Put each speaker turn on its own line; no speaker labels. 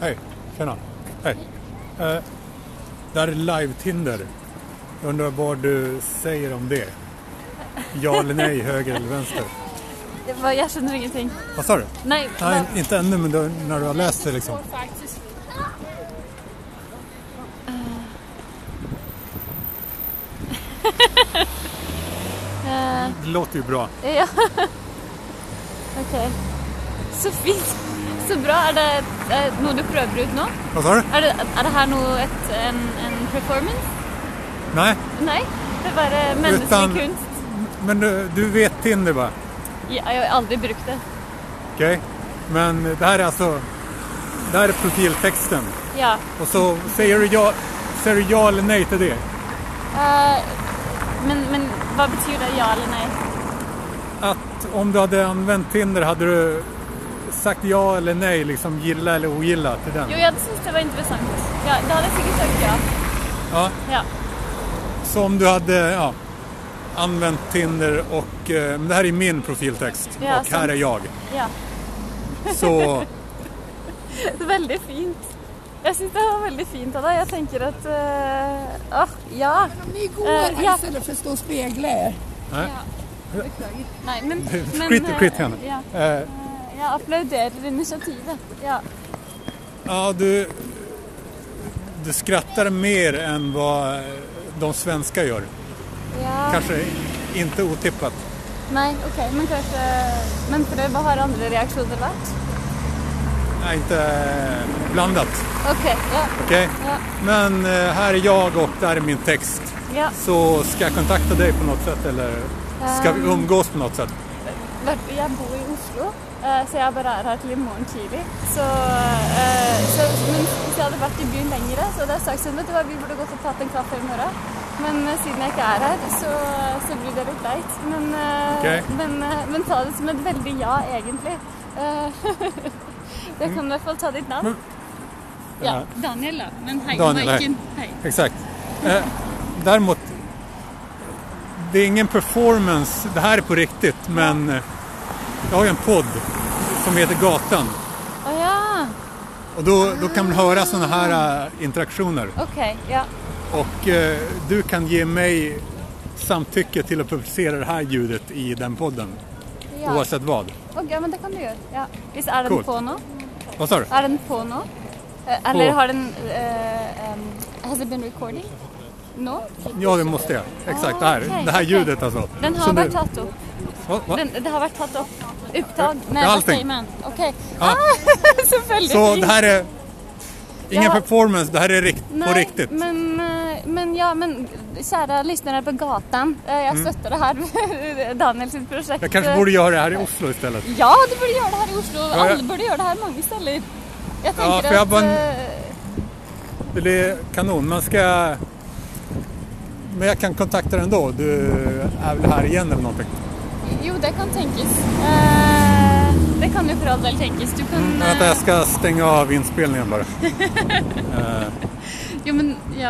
Hej, tjena. Hej. Eh, det här är live-Tinder. Jag undrar vad du säger om det? Ja eller nej, höger eller vänster?
Det var, jag känner ingenting.
Vad sa du?
Nej,
Nej,
vad-
inte ännu, men då, när du har läst det liksom.
eh,
Det låter ju bra.
ja. Okej. Så fint. Så bra. Är det eh, noe du prøver ut nå?
Vad sa du?
Er det, er det her noe et, en, en performance?
Nej,
Nei? Det er bare menneskelig
Utan-
kunst.
men du, du vet Tinder va?
Ja, jeg har aldri brukt det.
Okej. Men det här är alltså... Det här är profiltexten.
Ja.
Och så säger du ja, säger du ja eller nej till det?
Eh, men, men hva betyr det? Ja eller nei?
att om du hade använt Tinder hade du sagt ja eller nej, liksom gilla eller ogilla till den?
Jo, jeg syntes det var interessant. Ja, da hadde jeg sikkert sagt ja.
Ja.
Ja.
Så om du hade ja, använt Tinder och eh, men det här är min profiltext
Ja,
och här
sant.
är jag.
ja.
Så
Veldig fint. Jeg syns det var veldig fint av deg. Jeg tenker at eh, Åh, ja.
Om ni går
Eh,
här
ja.
istället för att stå och spegla er.
Nei, men, men
skit,
eh,
skit i henne.
Ja.
Eh,
Jeg applauderer initiativet. Ja.
ja, du, du skrattar mer än vad de svenska gör.
ja.
Kanske inte otippat.
Nei, ok, men kanskje Men prøv, hva har andre reaksjoner vært?
Nej, inte eh, blandat.
Ok, ja.
Okej?
Ja.
Men eh, här är jag och där är min text.
ja.
Så ska jag kontakta dig på något sätt eller ska vi umgås på något sätt?
Vært- Jeg bor i Oslo, eh, så jeg bare er her til i morgen tidlig. Så, eh, så Men hvis jeg hadde vært i byen lenger, så hadde jeg sagt sånn Vet du hva, vi burde gått og tatt en kaffe i morgen. Men eh, siden jeg ikke er her, så, så blir det litt leit. Men, eh,
Ok.
men, eh, men ta det som et veldig ja, egentlig. Eh, jeg kan i hvert fall ta ditt navn.
Men-
Ja, Daniel, da. Men hei,
Mm. Daniel, hei.
Maiken. Hei.
Exakt. Eh, däremot, det är ingen performance, det här är på riktigt, men eh, jag har ju en podd som heter Gatan.
Å ja.
Och då, då kan man höra sådana här eh, interaktioner.
Ok. Ja.
Och eh, du kan ge mig samtycke till att publicera det här ljudet i den podden.
ja.
Oavsett vad.
Ok, men det kan du gjøre. Ja. Hvis er den
Cool.
på nå?
Vad sa du?
Er den på nå? Eh, Eller
På.
har den eh, um, Has it been recording? Nå?
Ja, det måste jag. Exakt, det här,
Ah, okej,
det här
okej.
ljudet alltså.
Den har
Som du-
vært tatt opp.
Va, va?
Den, det har vært tatt opp. Opptak.
Det
Nei,
er
hva
allting.
sier man? OK.
Ja.
Ah, Selvfølgelig.
Så det här är ingen
Ja.
performance, det här är rikt,
Nei,
på riktigt.
Men, eh, men ja, men kjære lyttere på gatan. eh, Jeg støtter det her. Daniel sitt prosjekt.
Mm. Jag kanske borde göra det här i Oslo istället.
Ja, du burde gjøre det her i Oslo.
ja.
Alle burde gjøre det her mange steder. Jeg
Ja,
tenker
for jeg
at
bare-
eh,
Det blir kanon. Man ska... Men jag kan kontakta dig ändå. Du är väl här igen eller någonting?
Jo, det kan tenkes. Eh, det kan jo for all del tenkes. Du kan
Men Mm, Vänta,
eh,
jag ska stänga av inspelningen bara.
eh, Jo, men ja.